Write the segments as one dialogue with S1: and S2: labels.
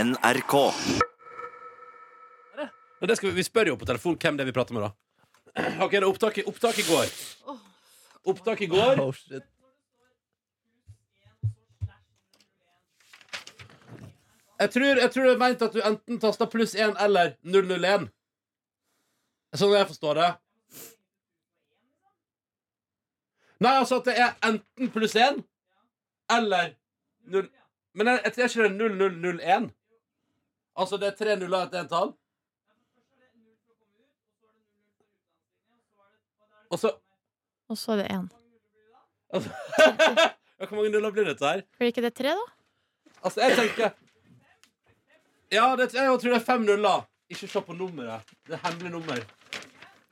S1: NRK.
S2: Men det skal vi, vi spør jo på telefon hvem det er vi prater med, da. Ok, det er opptak, i- opptak i går. Opptak i går.
S3: Oh, shit.
S2: Jeg tror, jeg tror det er meint at du enten taster pluss 1 eller 001. Sånn jeg forstår det. Nei, altså at det er enten pluss 1 eller 0 Men jeg, jeg tror ikke det er 0001. Altså det er tre nuller etter en tall. Og så
S4: Og så er det én.
S2: Altså, ja, Hvor mange nuller blir dette her?
S4: Blir ikke det tre, da?
S2: Altså, jeg tenker Ja, det, jeg tror det er fem nuller. Ikke se på nummeret. Det er hemmelig nummer.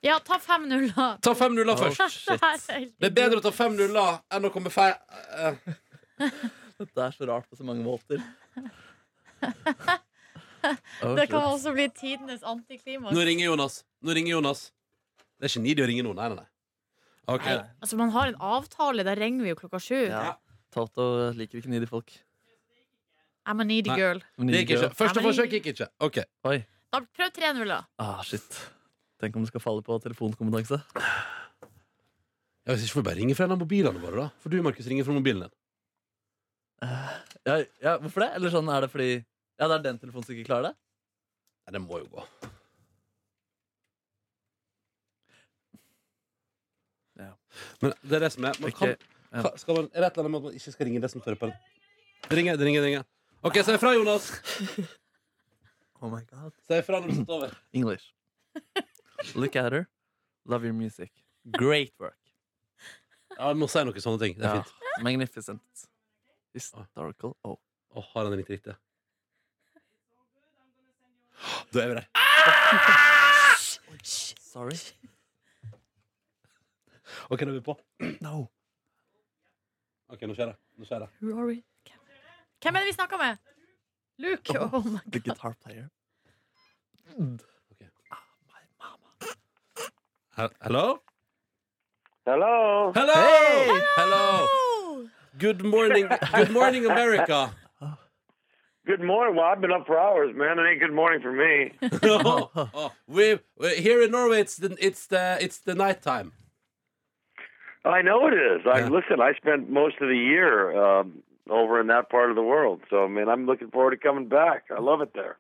S4: Ja, ta fem nuller.
S2: Ta fem nuller
S3: Oh,
S2: først.
S3: shit.
S2: Det er bedre å ta fem nuller enn å komme feil eh,
S3: Dette er så rart på så mange måter. Oh,
S4: Det
S3: shit.
S4: kan også bli tidenes antiklimaks.
S2: Nå ringer Jonas. Nå ringer Jonas. Det er ikke nidi å ringe nå. Nei, nei, nei. Ok.
S4: Nei, altså Man har en avtale, da ringer vi jo klokka sju.
S3: Ja. Tato liker ikke needy folk.
S4: I'm a needy
S2: Nei.
S4: girl.
S2: Det gikk ikke. Første
S4: Nei, men-
S2: forsøk gikk ikke. Ok.
S3: Oi.
S4: Da Prøv tre nuller.
S3: Ah, shit. Tenk om du skal falle på telefonkompetanse.
S2: Ja, hvis ikke får vi bare ringe fra en av mobilene våre, da. For du, Markus, ringer fra mobilen din.
S3: Ja, ja, hvorfor det? Eller sånn er det fordi Ja, det er den telefonen som ikke klarer det?
S2: Nei, det må jo gå.
S3: Ja.
S2: Men det er det som er Man kan,
S3: Ikke- ja.
S2: ka- skal man, Er det et eller annet med at man ikke skal ringe det som står på den? Det ringer, det ringer, det ringer. OK, si fra, Jonas.
S3: Oh my god.
S2: Si fra når du sitter over.
S3: English. Look at her. Love your music. Great work.
S2: Ja, Du må si noen sånne ting. Det er
S3: Ja.
S2: fint.
S3: Magnificent. Historical. Oh.
S2: Å, har han det litt riktig? Da er vi der.
S3: Sorry.
S2: OK, nå er vi på.
S3: No.
S2: Ok, Nå skjer det. Nå skjer det.
S4: Rory. Hvem- Hvem er det vi snakker med? Luke. Oh my
S3: The
S4: god.
S3: guitar player.
S2: He- Hello?
S5: Hello.
S2: Hello! Hello! Good morning, good morning America.
S5: Good morning. Well, I've been up for hours, man. It ain't good morning for me.
S2: oh, oh. We, we- here in Norway, it's the it's the it's the night time.
S5: I know it is. I
S2: Yeah.
S5: listen. I spent most of the year um, over in that part of the world, so I mean, I'm looking forward to coming back. I love it there.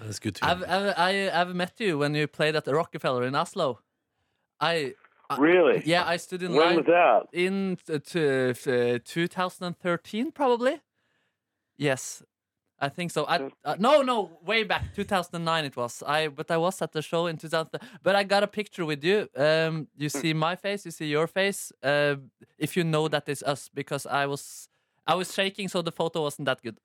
S2: That's good to
S3: I've, I've, I, I've met you when you played at the Rockefeller in Oslo. I
S2: Uh,
S5: Really?
S3: yeah, I stood in
S5: When
S3: line
S5: was that?
S3: in uh, t- t- t- 2013 probably. Yes, I think so. I, uh, no, no, way back 2009 it was. I but I was at the show in 2000. But I got a picture with you. Um, you see my face, you see your face. Uh, if you know that is us, because I was I was shaking, so the photo wasn't that good.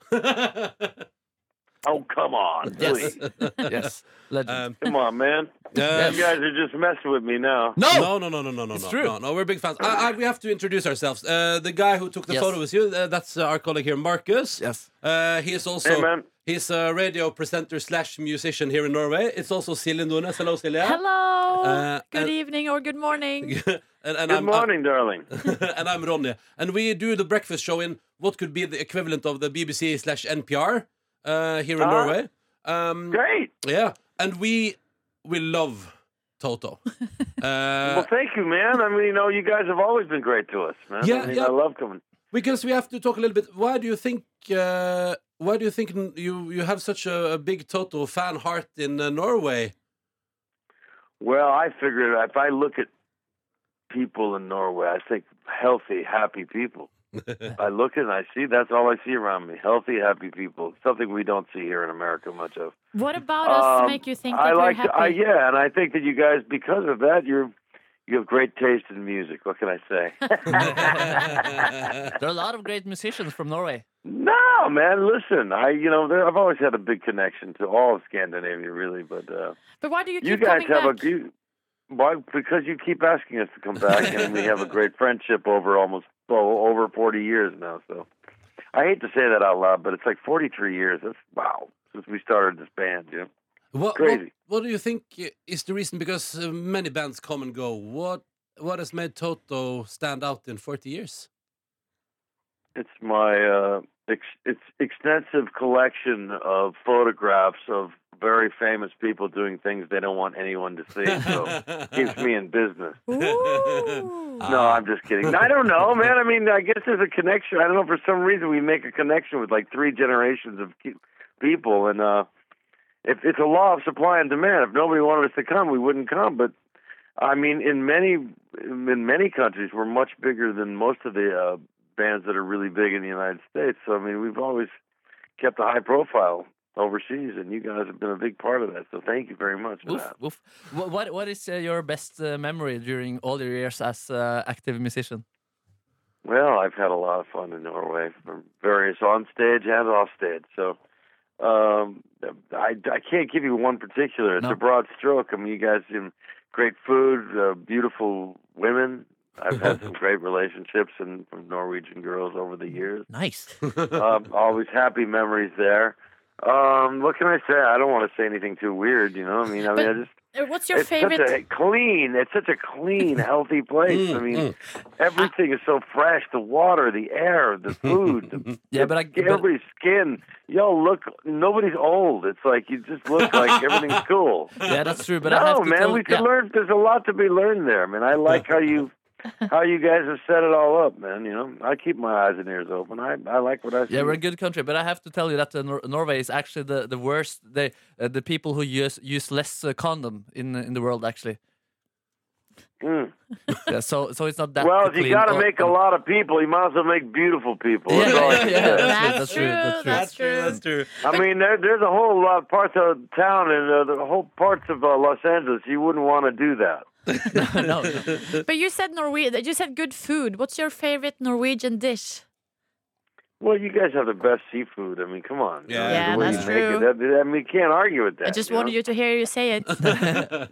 S5: Oh, come on.
S3: Yes,
S5: Really?
S3: yes, legend.
S2: Um,
S5: Come on, man.
S2: uh,
S5: You guys are just messing with me now.
S2: No, no, no, no, no, no,
S3: It's
S2: no,
S3: true.
S2: no, no. We're big fans. I, I, we have to introduce ourselves. Uh, the guy who took the
S3: Yes.
S2: photo with you, uh, that's uh, our colleague here, Marcus.
S3: Yes.
S2: Uh, he is also
S5: Hey, man.
S2: he's a radio presenter slash musician here in Norway. It's also Silje Nordnes. Hello, Silje.
S4: Hello.
S2: Uh,
S4: good
S2: uh,
S4: evening or good morning.
S2: and, and
S5: Good
S2: I'm, uh, mm,
S5: morning, darling.
S2: and I'm Ronny. And we do the breakfast show in what could be the equivalent of the BBC slash NPR uh, here in
S5: Ah.
S2: Norway. Um,
S5: Great.
S2: yeah, and we we love Toto. Uh,
S5: Well, thank you, man. I mean, you know, you guys have always been great to us, man.
S2: Yeah,
S5: I mean,
S2: yeah.
S5: I love coming.
S2: because we have to talk a little bit. Why do you think? Uh, why do you think n- you you have such a, a big Toto fan heart in uh, Norway?
S5: Well, I figured if I look at people in Norway, I think healthy, happy people. I look and I see that's all I see around me. Healthy, happy people. Something we don't see here in America much of.
S4: What about us
S5: Um,
S4: make you think
S5: I
S4: that
S5: like
S4: we're happy?
S5: I, yeah, and I think that you guys because of that you're you have great taste in music. What can I say?
S3: There are a lot of great musicians from Norway.
S5: no, man, listen. I you know, there, I've always had a big connection to all of Scandinavia really, but uh
S4: But why do you keep
S5: you guys
S4: coming
S5: have
S4: back?
S5: a you, why because you keep asking us to come back and we have a great friendship over almost oh, over 40 years now so i hate to say that out loud but it's like 43 years that's wow since we started this band you know
S2: What, what
S5: Crazy.
S2: what do you think is the reason? Because uh, many bands come and go. What what has made Toto stand out in forty years?
S5: It's my uh, ex- it's extensive collection of photographs of very famous people doing things they don't want anyone to see. So keeps me in business.
S4: Ooh.
S2: Oh.
S5: No,
S2: Ah.
S5: I'm just kidding. I don't know, man. I mean, I guess there's a connection. I don't know. For some reason, we make a connection with like three generations of ke- people, and uh, if it's a law of supply and demand, if nobody wanted us to come, we wouldn't come. But I mean, in many in many countries, we're much bigger than most of the uh, bands that are really big in the United States. So I mean, we've always kept a high profile overseas, and you guys have been a big part of that. So thank you very much for
S3: Oof,
S5: that.
S3: oof. Wh- What what is uh, your best uh, memory during all your years as uh, active musician?
S5: Well, I've had a lot of fun in Norway, from various on stage and off stage. So um, I, I can't give you one particular. It's
S3: No.
S5: a broad stroke. I mean, you guys have great food, uh, beautiful women. I've had some great relationships and from Norwegian girls over the years.
S3: Nice.
S5: Um, always happy memories there. Um, what can I say? I don't want to say anything too weird, you know. I mean, I mean, I just
S4: Uh, What's your
S5: it's
S4: favorite?
S5: such a clean. It's such a clean, healthy
S3: Mm,
S5: place. I mean, everything is so fresh. The water, the air, the food, the,
S3: Yeah, but I- but-
S5: everybody's skin. Y'all look. Nobody's old. It's like you just look like everything's cool.
S3: yeah, that's true. But
S5: no,
S3: I have to
S5: man,
S3: tell,
S5: we can
S3: yeah.
S5: learn. There's a lot to be learned there. I mean, I like how you. How you guys have set it all up, man. You know, I keep my eyes and ears open. I I like what I see.
S3: Yeah, we're a good country, but I have to tell you that uh, Nor- Norway is actually the, the worst. They uh, the people who use use less uh, condom in in the world actually.
S5: Mm.
S3: Yeah, so so it's not that.
S5: Well, if you
S3: clean
S5: got to
S3: or-
S5: make a lot of people, you might as well make beautiful people.
S3: Yeah,
S5: That's all I
S3: yeah,
S5: can
S3: yeah,
S5: say.
S3: That's
S4: That's
S3: true, that's true,
S4: true. That's true.
S2: true.
S5: I mean, there, there's a whole lot of parts of town and uh, the whole parts of uh, Los Angeles. You wouldn't want to do that.
S3: no, no.
S4: But you said Norwegian. You said good food. What's your favorite Norwegian dish?
S5: Well, you guys have the best seafood. I mean, come on.
S2: Yeah.
S4: Yeah,
S5: The way
S4: that's
S5: you make
S4: true.
S5: It, that, I mean, you can't argue with that.
S4: I just
S5: you
S4: wanted
S5: know?
S4: you to hear you say it.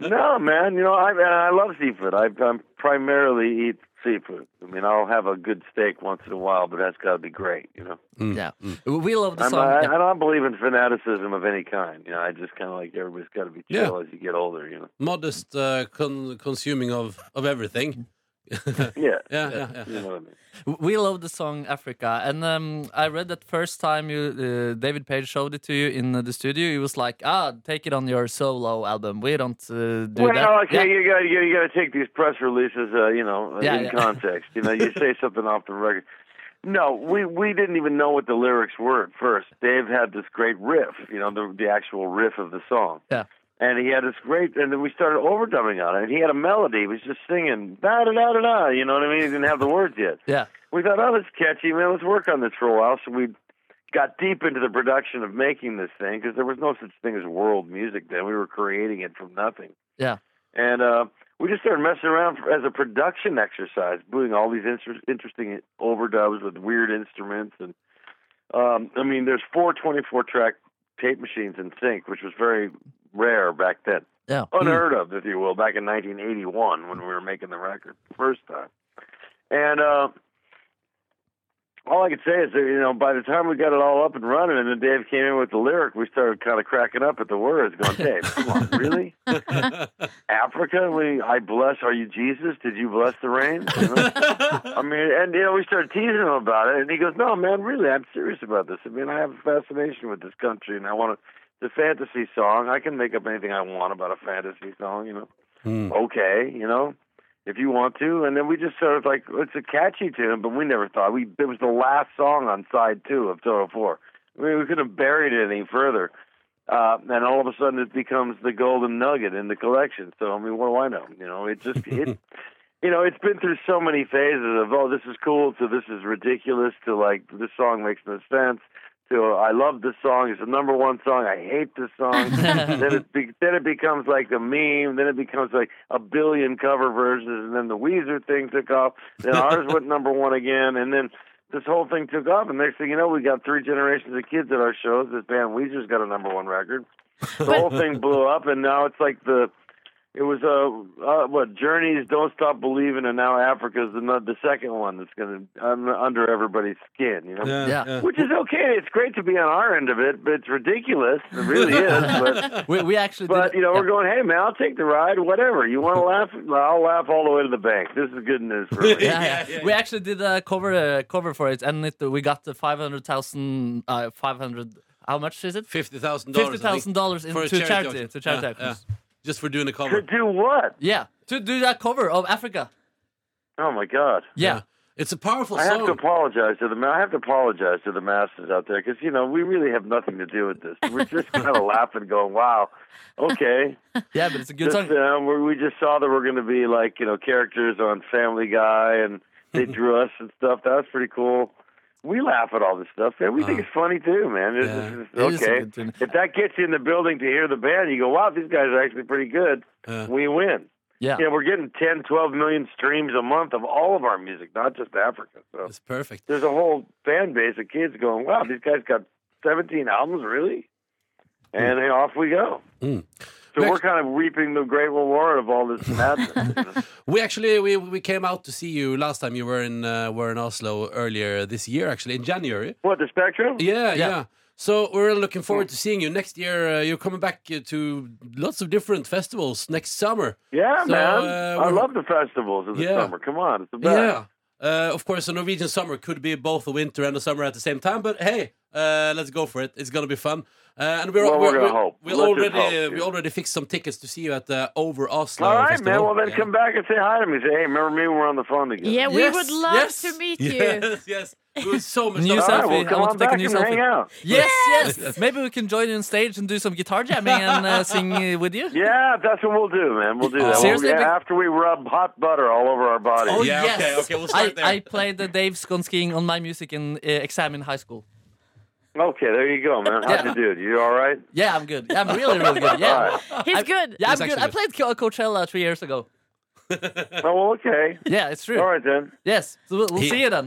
S5: No, man. You know, I and I love seafood. I I'm primarily eat seafood. I mean, I'll have a good steak once in a while, but that's got to be great. You know,
S3: yeah, we love the
S5: Mm. I'm,
S3: song.
S5: I,
S3: yeah.
S5: I don't believe in fanaticism of any kind. You know, I just kind of like everybody's got to be
S2: Yeah.
S5: chill as you get older. You know.
S2: Modest uh, con- consuming of, of everything.
S5: Yeah.
S2: Yeah, yeah,
S5: You
S2: yeah.
S5: know what I mean.
S3: We love the song Africa, and um, I read that first time you uh, David Page showed it to you in the studio. He was like, "Ah, take it on your solo album. We don't uh, do
S5: well,
S3: that."
S5: okay, you got you, you got to take these press releases, uh, you know,
S3: Yeah,
S5: in
S3: yeah.
S5: context. You know, you say something off the record. No, we we didn't even know what the lyrics were at first. Dave had this great riff, you know, the the actual riff of the song.
S3: Yeah.
S5: And he had this great, and then we started overdubbing on it. And he had a melody. He was just singing da da da da da. You know what I mean? He didn't have the words yet.
S3: yeah,
S5: We thought, oh, that's catchy, man. Let's work on this for a while. So we got deep into the production of making this thing because there was no such thing as world music then. We were creating it from nothing.
S3: Yeah.
S5: And uh, we just started messing around for, as a production exercise, doing all these inter- interesting overdubs with weird instruments. And um, I mean, there's four 24 track tape machines in sync, which was very rare back then
S3: yeah. Mm.
S5: unheard of, if you will, back in 1981 when we were making the record the first time. And uh, all I could say is that you know by the time we got it all up and running, and then Dave came in with the lyric, we started kind of cracking up at the words, going, "Dave, come on, really? Africa? We, I bless. Are you Jesus? Did you bless the rain?" You know? I mean, and you know, we started teasing him about it, and he goes, "No, man, really, I'm serious about this. I mean, I have a fascination with this country, and I want to." The fantasy song, I can make up anything I want about a fantasy song, you know.
S2: Hmm.
S5: Okay, you know, if you want to. And then we just sort of like it's a catchy tune, but we never thought we it was the last song on side two of Total Four. I mean, we could have buried it any further. Uh, and all of a sudden, it becomes the golden nugget in the collection. So I mean, what do I know? You know, it just it you know, it's been through so many phases of oh, this is cool to this is ridiculous to like this song makes no sense to I love this song, it's the number one song, I hate this song. then it be, then it becomes like a meme, then it becomes like a billion cover versions, and then the Weezer thing took off. Then ours went number one again, and then. This whole thing took off, and next thing you know, we got three generations of kids at our shows. This band Weezer's got a number one record. The whole thing blew up, and now it's like the It was a uh, uh, what journeys don't stop believing, and now Africa's the no- the second one that's going to un, under everybody's skin. You know,
S3: Yeah.
S5: which is okay. It's great to be on our end of it, but it's ridiculous. It really is. But
S3: We, we actually
S5: but
S3: did.
S5: you know,
S3: yeah.
S5: we're going. Hey man, I'll take the ride. Whatever you want to laugh, I'll laugh all the way to the bank. This is good news for me.
S3: yeah, yeah.
S2: Yeah, yeah,
S3: we
S2: yeah.
S3: actually did a cover uh, cover for it, and it, we got the five hundred thousand, uh, five hundred. How much is it?
S2: Fifty thousand dollars.
S3: Fifty thousand dollars in
S2: for a
S3: to charity,
S2: auction.
S3: to charity.
S2: Yeah,
S3: Yeah,
S2: yeah. Just for doing a
S5: to
S2: cover.
S5: do what?
S3: yeah, to do that cover of Africa.
S5: Oh my God.
S3: Yeah,
S2: It's a powerful
S5: I have to
S2: song.
S5: apologize to the ma- I have to apologize to the masses out there because you know we really have nothing to do with this. We're just kind of laughing, going, "Wow, okay."
S3: yeah, but it's a good
S5: Just,
S3: song.
S5: uh, we we just saw that we're going to be like you know characters on Family Guy, and they drew us and stuff. That was pretty cool. We laugh at all this stuff, man. We think it's funny too, man. It's,
S2: Yeah.
S5: it's-
S3: It is a
S5: okay,
S3: good tune.
S5: if that gets you in the building to hear the band, you go, "Wow, these guys are actually pretty good."
S2: Yeah.
S5: We win.
S3: Yeah,
S5: You know, we're getting 10, 12 million streams a month of all of our music, not just Africa. So
S2: It's perfect.
S5: there's a whole fan base of kids going, "Wow, these guys got 17 albums, really?" And then off we go.
S3: Hmm.
S2: Mm.
S5: So
S2: Next-
S5: we're kind of reaping the great reward of all this madness.
S2: We actually we, we came out to see you last time you were in uh, were in Oslo earlier this year actually in January.
S5: what the spectrum?
S2: Yeah, yeah.
S3: Yeah.
S2: So we're really looking forward to seeing you next year. Uh, you're coming back uh, to lots of different festivals next summer.
S5: Yeah,
S2: So,
S5: man.
S2: uh,
S5: I
S2: we're-
S5: love the festivals in the
S2: Yeah.
S5: summer. Come on, it's the best.
S2: Yeah. Uh, of course, a Norwegian summer could be both a winter and a summer at the same time. But hey, uh, let's go for it. It's gonna be fun. Uh, and we're
S5: Well, we're
S2: we're,
S5: gonna hope.
S2: we
S5: Let's
S2: already
S5: just hope,
S2: we
S5: dude.
S2: already fixed some tickets to see you at the Over Oslo.
S5: All right, man.
S2: Festival.
S5: Well, then
S2: Yeah.
S5: come back and say hi to me. Say, hey, remember me when we're on the phone together?
S4: Yeah, we
S2: Yes,
S4: would love
S2: yes,
S4: to meet you.
S2: Yes, yes. It was so much.
S3: New
S5: All
S2: fun.
S5: right,
S3: selfie. I
S5: well, come
S3: want
S5: on
S3: to take a
S5: back
S3: new
S5: and
S3: selfie.
S5: hang out.
S3: yes, yes, Maybe we can join you on stage and do some guitar jamming and uh, sing uh, with you.
S5: Yeah, that's what we'll do, man. We'll do that.
S3: Oh, Seriously?
S5: We'll- yeah, after we rub hot butter all over our body.
S3: Oh
S2: Yeah,
S3: yes.
S2: okay, okay, we'll start
S3: I,
S2: there.
S3: I played the Dave Skonskiing on my music in uh, exam in high school.
S5: Okay, there you go, man. How'd
S3: Yeah.
S5: you do? You all right?
S3: Yeah, I'm good. I'm really, really good. Yeah,
S4: He's
S3: I-
S4: good.
S3: yeah, I'm
S2: He's
S3: good.
S2: actually
S3: I
S2: good.
S3: played Co- Coachella three years ago.
S5: Oh, well, okay.
S3: Yeah, it's true.
S5: All right then.
S3: Yes, so we'll, we'll see you then.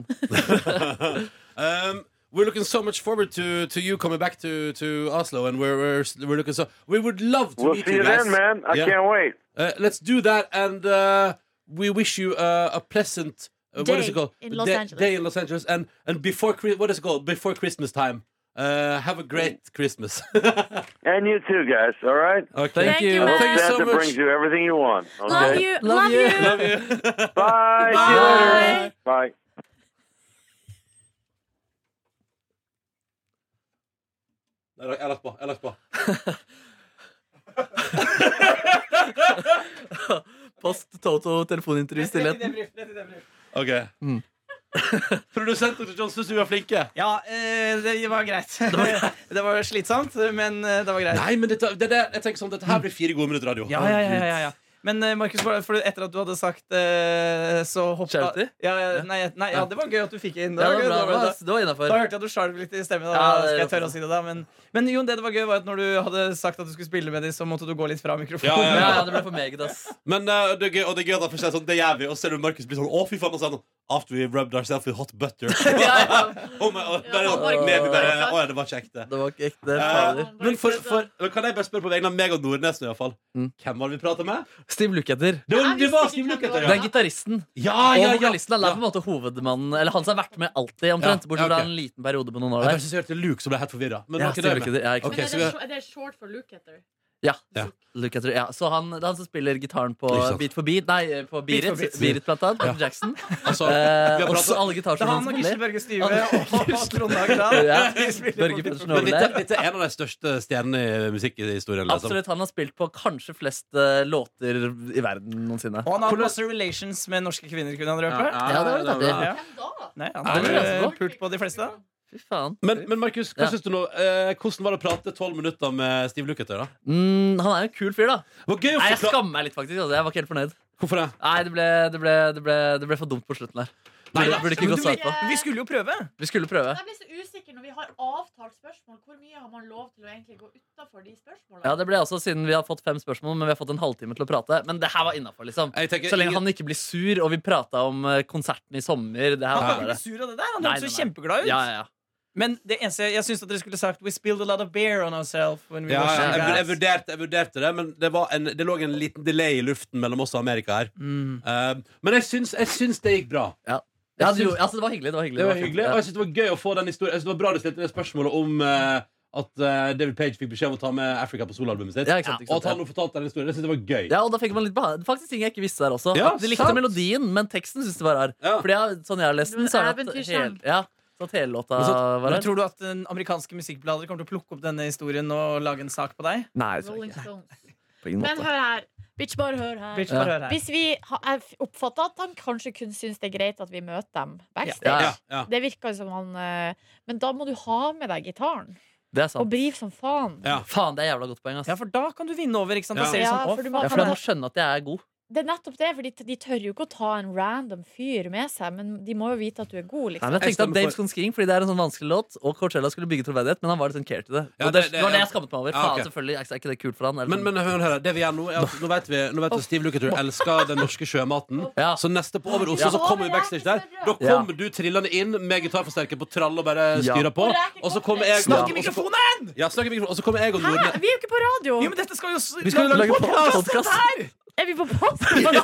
S2: Um, we're looking so much forward to, to you coming back to, to Oslo, and we're, we're we're looking so we would love to
S5: We'll
S2: meet
S5: see
S2: you,
S5: you
S2: guys.
S5: then, man. I
S2: Yeah.
S5: can't wait.
S2: Uh, let's do that, and uh, we wish you uh, a pleasant uh, what is
S4: Day
S2: it called
S4: in Los
S2: day,
S4: Angeles.
S2: Day in Los Angeles, and and before Chri- what is it called before Christmas time. Uh, have a great Christmas. okay.
S5: And you too, guys. All right.
S4: Thank you,
S2: Well, thank you
S5: Santa
S2: so much.
S5: brings you everything you want. Okay.
S4: Love you. Love, you.
S2: Love you.
S5: Bye. See you
S4: Bye.
S5: later. Bye.
S2: Nei, Jeg har lagt på. Jeg har lagt på.
S3: Post Toto telefonintervju stillheten.
S2: Ok. Produsenter til John syns vi var flinke.
S1: Ja, eh, det var greit. Det var slitsomt, men eh, det var greit.
S2: Nei, men dette, det, der- jeg tenker sånn, dette her blir fire gode minutter radio.
S1: Ja, ja, ja, ja, ja. Men eh, Markus, bare for etter at du hadde sagt eh, så hoppa
S3: Charity?
S1: Ja, ja, nei, nei, ja, det var gøy at du fikk inn. Det
S3: Ja,
S1: var
S3: det
S1: gøy,
S3: var
S1: det
S3: bra.
S1: var-
S3: Det var innafor.
S1: Da hørte jeg at du sjalv litt i stemmen. Da,
S3: Ja,
S1: skal
S3: det-
S1: jeg tørre å si det da Men, men Jon, det det var gøy, var at når du hadde sagt at du skulle spille med dem, så måtte du gå litt fra
S2: Ja,
S1: mikrofonen.
S3: Ja, ja, det ble for meget, ass.
S2: Men eh, det er gøy, og det er gøy at han først er sånn, det gjør vi, og så ser du Markus bli sånn, å fy faen, og så er han sånn, after we rubbed ourselves with hot butter.
S3: Ja, ja.
S2: oh my, oh, bare,
S4: Ja,
S2: sånn,
S4: Markus.
S2: nedi der, eh, å ja, det var ikke ekte.
S3: Det var ikke ekte.
S2: Eh,
S3: Fader.
S2: men, for, for, men kan jeg bare spørre på vegne av meg og Nordnesen i hvert fall
S3: Mm.
S2: Hvem var det vi pratet med?
S3: Steve Lukather.
S2: Det var,
S4: Jeg
S2: det
S4: visste
S2: var
S4: ikke
S2: Steve
S4: hvem det
S2: Lukather,
S3: Det
S2: ja
S3: er gitaristen.
S2: Ja,
S3: Og
S2: ja, ja,
S3: vokalisten han er på en måte hovedmannen Eller han som har vært med alltid, omtrent.
S2: Ja,
S3: Bortsett
S2: ja,
S3: fra
S2: ok.
S3: en liten periode på noen år
S2: Jeg bare
S3: der.
S2: synes jeg hørte Luke som ble helt forvirret Men var
S3: Ja,
S2: ikke
S3: Steve
S2: det med?
S3: Lukather. Ja, ikke
S2: Ok,
S4: Men
S3: sant.
S2: så
S4: er, det,
S2: vi-
S4: short- er det short for look etter?
S3: Ja.
S2: Ja.
S3: Lukather, ja. Så han, han som spiller gitaren på
S2: Ikke sant.
S3: Beat for beat, nei, på
S1: Beat
S3: Beat,
S1: for Beat.
S3: Beat blant annet. Michael Jackson.
S2: altså, vi
S3: Eh,
S2: har
S3: og
S2: pratet-
S3: så alle
S1: Det er han
S3: gitarsjonene
S1: og
S3: som
S1: Gisle
S3: spiller.
S1: Børge Stive og Trond
S3: Ja.
S1: Hagdal. De spiller
S3: Børge
S1: på
S3: Pettersen
S1: mikrofonen.
S2: Men dette, dette er en av de største stjernene i musikkhistorien liksom.
S3: Absolutt. Han har spilt på kanskje flest eh, låter i verden noensinne.
S1: Og han har hatt masse relations med norske kvinner, kunne han røpe.
S3: Ja, det var litt artig.
S2: Ja.
S4: Hvem da?
S1: Nei, han
S3: Ja,
S1: har
S3: det er
S1: eh,
S3: ganske bra.
S1: pult på de fleste.
S3: Fy faen.
S2: Men, men Markus, hva
S3: Ja.
S2: synes du nå? Eh, hvordan var det å prate 12 minutter med Steve Lukather? da?
S3: Mm, han er jo en kul fyr, da.
S2: Det var gøy å
S3: Nei, Jeg
S2: forklare
S3: skammer meg litt, faktisk. Altså. Jeg var ikke helt fornøyd.
S2: Hvorfor det?
S3: Nei, det ble, det ble, det ble, det ble for dumt på slutten der.
S2: Nei,
S3: Burde, burde ikke
S1: Men
S3: gått
S1: du-
S3: svart på.
S1: Vi skulle jo prøve.
S3: Vi skulle prøve.
S4: Jeg blir så usikker når vi har avtalt spørsmål. Hvor mye har man lov til å egentlig gå utafor de spørsmålene?
S3: Ja, det ble altså siden vi har fått fem spørsmål, men vi har fått en halvtime til å prate. Men det her var innafor, liksom.
S2: Jeg tenker
S3: Så lenge
S2: ingen-
S3: han ikke blir sur, og vi prata om eh, konserten i sommer. Det her
S1: Han
S3: var
S1: var ikke
S3: bare
S1: sur av det der. Han
S3: Nei,
S1: hørtes
S3: nei,
S1: så
S3: nei.
S1: kjempeglad ut.
S3: Ja, ja, ja.
S1: Men det eneste jeg syns at dere skulle sagt We spilled a lot of beer on ourselves. When we
S2: Ja,
S1: watched
S2: jeg,
S3: sånn
S1: the
S2: vur- jeg,
S1: Jazz.
S2: vurderte, jeg vurderte det, men det, var en, det lå en liten delay i luften mellom oss og Amerika her.
S1: Mm.
S2: Eh, men jeg syns, jeg syns det gikk bra.
S3: Ja, det, gjorde- altså, det var hyggelig. Det var hyggelig.
S2: Det var
S3: fint.
S2: hyggelig,
S3: Ja.
S2: og jeg synes det var gøy å få den historien. Jeg synes det var bra du stilte det spørsmålet om eh, at eh, David Page fikk beskjed om å ta med Africa på soloalbumet sitt.
S3: Ja, ikke sant, ikke sant,
S2: og at han
S3: ja.
S2: nå fortalte den historien. Jeg synes det var gøy.
S3: Ja, og da fikk man litt beha- Faktisk ting jeg ikke visste der også.
S2: Ja,
S3: At de likte
S2: sant.
S3: melodien, men teksten syntes de var rar.
S2: Ja.
S3: Fordi jeg, sånn jeg har lest den,
S4: Det
S3: så
S4: var
S3: er det at
S4: eventyrsang.
S3: hel- ja, så at hele låta
S2: Men så-
S3: var
S1: Men
S3: rar.
S1: Tror du at den amerikanske musikkblader kommer til å plukke opp denne historien og lage en sak på deg?
S3: Nei, jeg tror
S4: Rolling
S3: ikke.
S4: Stones.
S3: På ingen
S4: Men
S3: måte.
S4: hør her. Bitch, bare hør her.
S1: Bitch, bare hør her.
S4: Hvis vi har- Jeg oppfatta at han kanskje kun syns det er greit at vi møter dem backstage.
S3: Ja,
S2: Ja, ja.
S4: Det virka som han eh, Men da må du ha med deg gitaren.
S3: Det er
S4: Og
S3: sant.
S4: brive som faen.
S2: Ja.
S3: Faen, det er jævla godt poeng, ass.
S1: Ja, for da kan du vinne over. ikke sant? Da
S2: Ja.
S1: ser det
S4: Ja,
S1: sånn, «Å,
S4: for du
S1: faen,
S4: må-
S3: Ja,
S1: for
S3: for
S1: det
S3: de
S1: er
S3: må skjønne at jeg er god.
S4: Det er nettopp det, for de, de tør jo ikke å ta en random fyr med seg, men de må jo vite at du er god,
S3: Nei,
S4: liksom.
S3: men jeg
S2: Jeg
S3: tenkte at
S2: stemmer
S3: Dave
S2: for-
S3: Skonsking, fordi det er en sånn vanskelig låt, og Coachella skulle bygge troverdighet, men han var litt sånn care til det.
S2: Ja,
S3: og det,
S2: det-
S3: det var det
S2: ja.
S3: jeg skammet meg over.
S2: Ja,
S3: Faen,
S2: ok.
S3: selvfølgelig er ikke- er ikke det kult for han. Eller
S2: Men,
S3: sånn.
S2: men hør, hør, her. det vi gjør nå er at Nå vet vi Nå vet vi at Steve Lukather elsker den norske sjømaten.
S3: Ja.
S2: Så neste på Over Oslo
S3: Ja.
S2: så kommer vi backstage der. Da
S3: Ja.
S2: kommer du trillende inn med gitarforsterker på trall og bare
S3: Ja.
S2: styrer på.
S4: Og reker
S2: Og så kommer jeg
S3: Snakk
S1: i
S2: og så-
S1: mikrofonen!
S2: Ja, snakk i mikrofonen. Og så kommer jeg og Nordnes
S4: Hæ? Vi er jo ikke på radio!
S1: Jo, men dette skal jo s-
S2: Vi skal jo lage
S1: podcast,
S3: podcast.
S1: dette her!
S4: Er vi på podkast?
S2: Jo, altså, du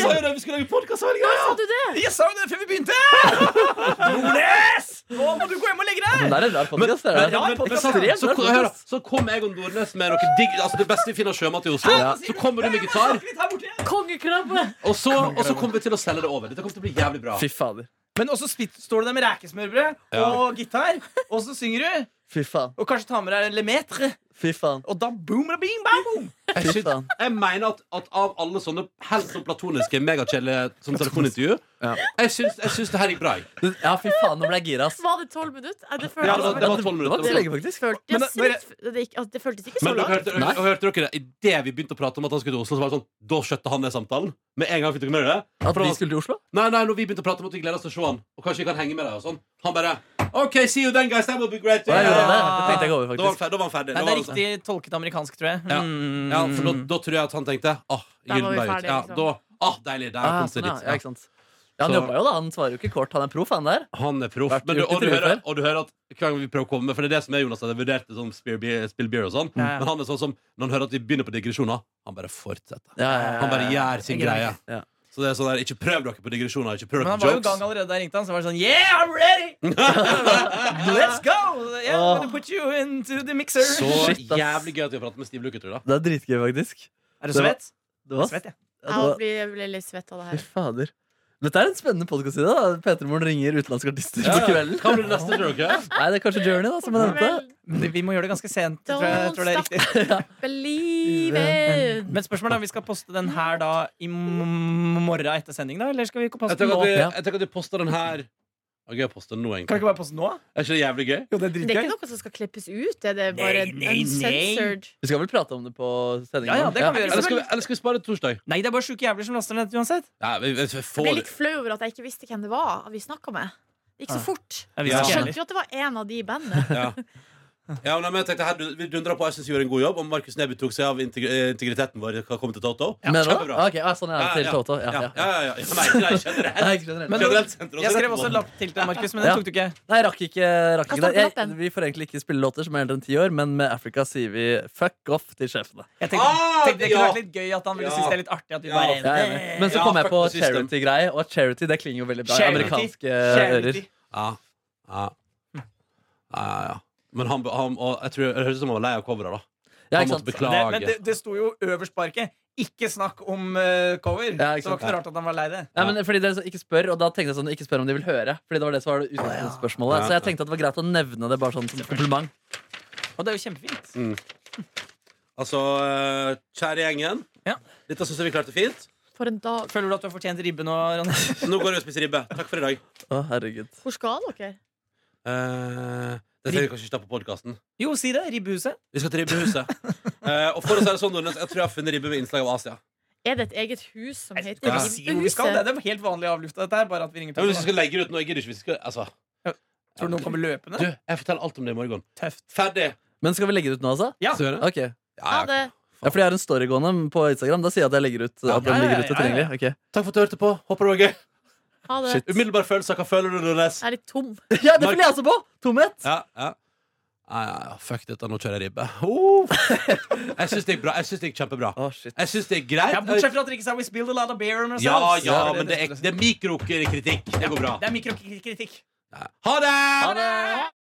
S2: sa jo det! Vi skulle lage podkast hver
S4: Sa
S2: gang!
S4: du det?
S1: Jeg sa jo det før vi begynte! Nordnes! Nå må du gå hjem og legge deg!
S3: Men det er en rar podcast, det
S2: Men,
S3: er
S2: ja,
S3: det.
S2: men, men, så, så,
S3: Ekstremt rar
S2: hør, da.
S3: podcast.
S2: så kom jeg og Nordnes med noe digg Altså det beste vi finner av sjømat i Oslo.
S3: Ja.
S2: Så kommer du med gitar,
S4: Kongekrabbe!
S2: og så, og så kommer vi til å selge det over. Dette kommer til å bli jævlig bra.
S3: Fy fader.
S1: Men også spitt, står du der med rekesmørbrød og gitar, og så synger du.
S3: Fy faen.
S1: Og kanskje tar med deg Le Metre,
S3: Fy faen.
S1: og da boom da bing bam boom!
S2: Jeg,
S3: Fy
S2: synes,
S3: faen.
S2: jeg mener at, at av alle sånne helt så platoniske, megakjedelige som telefonintervju,
S3: Ja.
S2: jeg syns, jeg syns det her gikk bra. jeg.
S3: Ja, fy faen, nå ble jeg gira, ass.
S4: Var det tolv minutter? Ja, det
S2: Ja, det var- det var
S4: føltes-
S2: 12
S3: Det var
S2: minutter.
S3: ikke så lenge, faktisk.
S1: Men
S4: det
S1: da- men-
S4: føltes- det gikk- altså, det føltes ikke så
S2: Men dere
S4: langt.
S2: hørte, og hørte dere det? Idet vi begynte å prate om at han skulle til Oslo, så var det sånn, da skjøtte han ned samtalen. Med en gang fikk dere med dere det.
S3: At vi skulle til Oslo?
S2: Nei, nei, når vi begynte å prate om at vi gleder oss til å se han Og kanskje vi kan henge med deg og sånn Han bare, ok, see you then guys, that will be great
S3: Ja, jeg gjorde det.
S1: Ja.
S3: Det tenkte jeg over,
S2: Da var han
S3: faktisk.
S2: ferdig, da var han ferdig.
S1: Nei,
S2: Da
S1: det
S2: var
S1: er
S2: han sånn.
S1: riktig tolket amerikansk, tror jeg.
S2: Ja.
S1: Mm.
S2: Ja, for da, da tror jeg at han tenkte, ah,
S4: Da var vi
S2: Gyllenberg
S4: ferdig,
S2: ja,
S4: liksom.
S2: da, ah, deilig, der
S3: Ah,
S2: kom det
S3: sånn, ja.
S2: dit
S3: Ja,
S2: ja.
S3: ikke sant. Ja, han
S2: Så-
S3: jobba jo, da. Han svarer jo ikke kort. Han er proff, han der.
S2: Han er proff
S3: Vært
S2: Men du,
S3: ute
S2: og, du
S3: til
S2: hører,
S3: før.
S2: og du hører at hver gang vi prøver å komme For det er det som er Jonas, at jeg vurderte sånn spill beer, spill beer og sånn
S1: Ja, ja.
S2: Men han er sånn som, når han hører at vi begynner på digresjoner Han bare fortsetter
S3: Ja, ja,
S2: Han bare gjør sin
S1: Jeg
S2: greie
S1: greier.
S3: Ja.
S2: Så det er sånn der, ikke prøv dere på digresjoner Ikke prøv
S1: Men
S2: dere
S1: han
S2: på
S1: var jo i
S2: jokes
S1: gang allerede da jeg ringte han, så var det sånn Yeah, I'm ready! Let's go! Yeah, I'm gonna put you into the mixer.
S2: Så
S3: Shit, ass.
S2: jævlig gøy at vi har pratet med Steve Lukather da
S3: Det er dritgøy, faktisk.
S1: Er du svett?
S3: Det var,
S1: Svett, ja.
S3: ja, det var
S4: Jeg blir- jeg ble litt svett av det
S3: altså- Fy
S4: her.
S3: fader. Dette er en spennende podkast i dag. Petermoren ringer utenlandske artister
S2: Ja,
S3: på
S2: ja.
S3: kvelden.
S2: Hva blir det neste, tror dere?
S3: Nei, det er kanskje Journey, da, som jeg nevnte.
S4: Vel,
S1: Men det- Vi må gjøre det ganske sent. Tror jeg, jeg tror det er
S4: Don't
S1: riktig.
S4: Believe it!
S1: Men spørsmålet er om vi skal poste den her da i m- morgen etter sending, da? Eller skal vi ikke poste
S2: Jeg
S1: den
S2: tenker at
S1: nå?
S2: vi,
S3: Ja.
S2: jeg tenker at vi poster den her Det er Gøy å poste den nå,
S1: Kan vi
S2: egentlig.
S1: ikke bare poste den nå?
S2: Er ikke det jævlig gøy?
S1: Jo, det er
S4: Det er ikke noe som skal klippes ut, er det bare
S1: Nei, nei, nei.
S4: uncensored?
S3: Vi skal vel prate om det på sendingen?
S1: Ja, ja, det kan vi gjøre.
S2: Eller skal vi, eller skal vi spare det til torsdag?
S1: Nei, det er bare sjuke jævler som laster ned uansett.
S2: Nei, vi, vi, vi
S4: Jeg
S2: får det.
S4: ble litt flau over at jeg ikke visste hvem det var vi snakka med. Det gikk så
S1: Ah.
S4: fort.
S1: Jeg
S2: Ja.
S1: visste
S4: Jeg
S1: ikke
S4: skjønte
S1: heller.
S4: jo at det var en av de i bandet.
S2: Ja. Ja, nei, men jeg tenkte her, du- Vi dundra på. Jeg syns vi gjorde en god jobb. Og Markus Neby tok seg av integri eh, integriteten vår. Hva kom til Toto?
S3: Mener du det?
S2: Kjempebra.
S3: Ah, ok, ah, sånn er det til
S2: Ja, ja.
S3: Toto. Ja,
S2: Ja,
S3: ja.
S2: ja, ja, ja. Nei, nei, generelt.
S3: Nei, ikke generelt.
S1: Men-
S2: Generelt senter, og
S1: Jeg
S2: så
S1: skrev
S2: rett
S1: også
S2: på.
S1: lapp til deg, Markus, men den
S3: Ja.
S1: tok du ikke.
S3: Nei, rakk ikke,
S4: Hva står
S3: rakk ikke det.
S4: på
S3: Jeg,
S4: lappen?
S3: vi får egentlig ikke spille låter som er eldre enn ti år, men med Africa sier vi fuck off til sjefene.
S1: Jeg tenkte,
S2: Ah,
S1: tenkte det kunne
S2: ja.
S1: vært litt gøy at han ville
S2: Ja.
S1: synes det er litt artig at vi
S2: Ja.
S1: bare
S3: Jeg er enig. Men så
S2: Ja,
S3: kom jeg
S2: fuck
S3: på
S2: the system.
S3: charity-greie, og charity det klinger jo veldig bra i
S1: Charity.
S3: amerikanske ører.
S1: Charity.
S2: Ja, ja. ja, ja, ja. Men han, han og jeg tror, det høres ut som han var lei av coveret, da.
S3: Ja,
S2: Han
S3: ikke
S2: måtte
S3: sant?
S1: Det, men det,
S2: beklage.
S1: det sto jo øverst på arket. Ikke snakk om eh,
S3: Ja, ikke
S1: cover. så det var
S3: sant.
S1: ikke noe rart at han var lei det.
S3: Nei, men fordi det er så, ikke spør, og da tenkte jeg sånn, ikke spør om de vil høre. Fordi det var det som var det utgangspunktspørsmålet.
S2: Ja.
S3: Så jeg tenkte at det var greit å nevne det bare sånn som kompliment.
S1: Og det er jo kjempefint.
S2: Altså, eh, kjære gjengen.
S1: Ja.
S2: Dette syns jeg vi klarte fint.
S4: For en dag.
S1: Føler du at du har fortjent ribbe nå, Ronny?
S2: Nå går jeg og spiser ribbe. Takk for i dag.
S3: Å, herregud.
S4: Hvor skal dere?
S2: Eh, det ser vi kanskje ikke ta på podkasten.
S1: Jo, si det. Ribbehuset.
S2: Vi skal til ribbehuset. Eh, og for å si det sånn, Nordnes, jeg tror jeg har funnet ribbe med innslag av Asia.
S4: Er det et eget hus som heter
S1: Ikke si hvor vi skal. Det er- det er helt vanlig avlufta, dette her. Bare at vi ringer
S2: Ja, men hvis vi
S1: til
S2: skal legge det ut nå, jeg gidder ikke. hvis Vi skal, altså.
S1: Tror du noen kommer
S2: Du,
S1: løpende?
S2: jeg forteller alt om det i morgen.
S1: Tøft.
S2: Ferdig!
S3: Men skal vi legge det ut nå, altså?
S1: Ja.
S2: Skal vi gjøre det?
S3: Ok.
S2: Ja, ja.
S4: Ha det.
S3: Ja, fordi jeg har en story gående på Instagram. Da sier jeg at jeg legger ut
S1: Ja,
S3: at den
S1: ja, ja,
S3: ligger ute
S1: ja, ja.
S3: tilgjengelig. Ok.
S2: Takk for at du hørte på. Håper det var gøy.
S4: Ha det.
S3: Shit.
S2: Umiddelbar følelse. Hva føler du når du leser?
S4: Jeg er litt tom.
S3: Ja, det føler jeg også på! Tomhet.
S2: Ja, ja. Nei, nei, fuck dette, nå kjører jeg ribbe. Uff. jeg syns det gikk bra. Jeg syns det gikk kjempebra.
S3: Å, shit.
S2: Jeg syns det er
S1: Ja,
S2: greit.
S1: bortsett sånn fra at det ikke sa we spilled a lot of beer on ourselves.
S2: Ja, ja,
S1: Så
S2: men det er, det er mikrokritikk. Det går bra.
S1: det er mikrokritikk.
S2: Ha det!
S3: Ha det!